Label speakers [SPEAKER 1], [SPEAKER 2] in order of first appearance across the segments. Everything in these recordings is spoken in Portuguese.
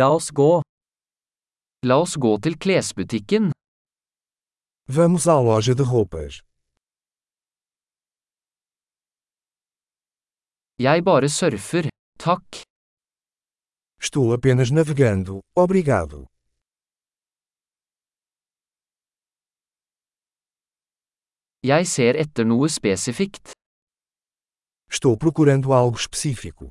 [SPEAKER 1] La oss gå. La oss gå til klesbutikken.
[SPEAKER 2] Vamos à loja de roupas.
[SPEAKER 1] Jeg bare surfer. Takk.
[SPEAKER 2] Estou apenas navegando, obrigado.
[SPEAKER 1] Jeg ser etter noe spesifikt.
[SPEAKER 2] Estou procurando algo específico.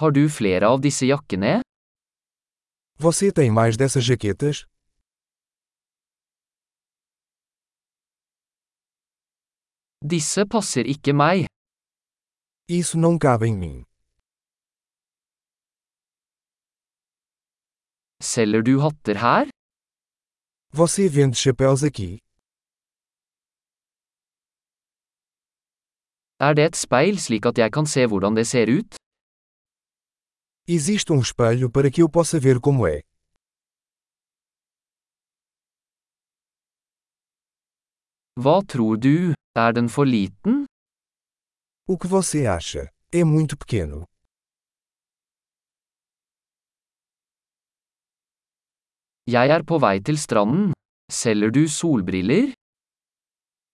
[SPEAKER 1] Har du flere av disse jakkene?
[SPEAKER 2] Você tem mais dessas jaquetas?
[SPEAKER 1] Disse passer ikke meg.
[SPEAKER 2] Isso não cabe em mim.
[SPEAKER 1] Selger du hatter her?
[SPEAKER 2] Você vende chapéus aqui?
[SPEAKER 1] Er det et speil slik at jeg kan se hvordan det ser ut?
[SPEAKER 2] Existe um espelho para que eu possa ver como é.
[SPEAKER 1] Hva tror du? Er den for liten?
[SPEAKER 2] O que você acha? É muito pequeno.
[SPEAKER 1] Jeg er på vei til stranden. Selger du solbriller?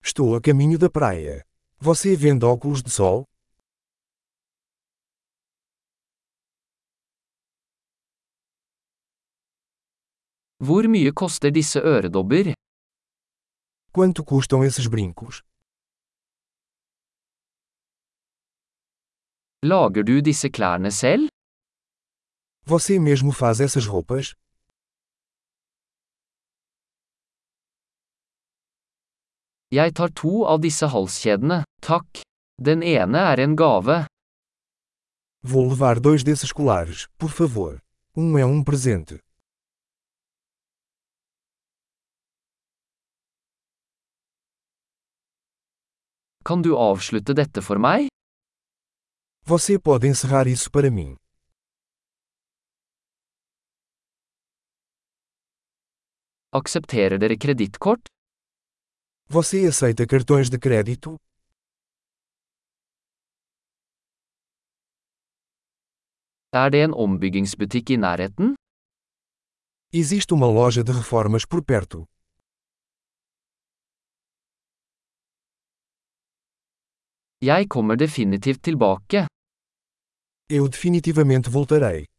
[SPEAKER 2] Estou a caminho da praia. Você vende óculos de sol?
[SPEAKER 1] Hvor mye koster disse øredobber?
[SPEAKER 2] Quanto custam esses brincos?
[SPEAKER 1] Lager du disse klærne selv?
[SPEAKER 2] Você mesmo faz essas roupas?
[SPEAKER 1] Jeg tar to av disse halskjedene, takk. Den ene er en gave.
[SPEAKER 2] Vou levar dois desses colares, por favor. Um é um presente.
[SPEAKER 1] Kan du avslutte dette for meg?
[SPEAKER 2] Você pode encerrar isso para mim.
[SPEAKER 1] Aksepterer dere kredittkort?
[SPEAKER 2] Você aceita cartões de crédito?
[SPEAKER 1] Er det en ombyggingsbutikk i nærheten?
[SPEAKER 2] Existe uma loja de reformas por perto.
[SPEAKER 1] Jeg kommer definitivt tilbake.
[SPEAKER 2] Eu definitivamente voltarei.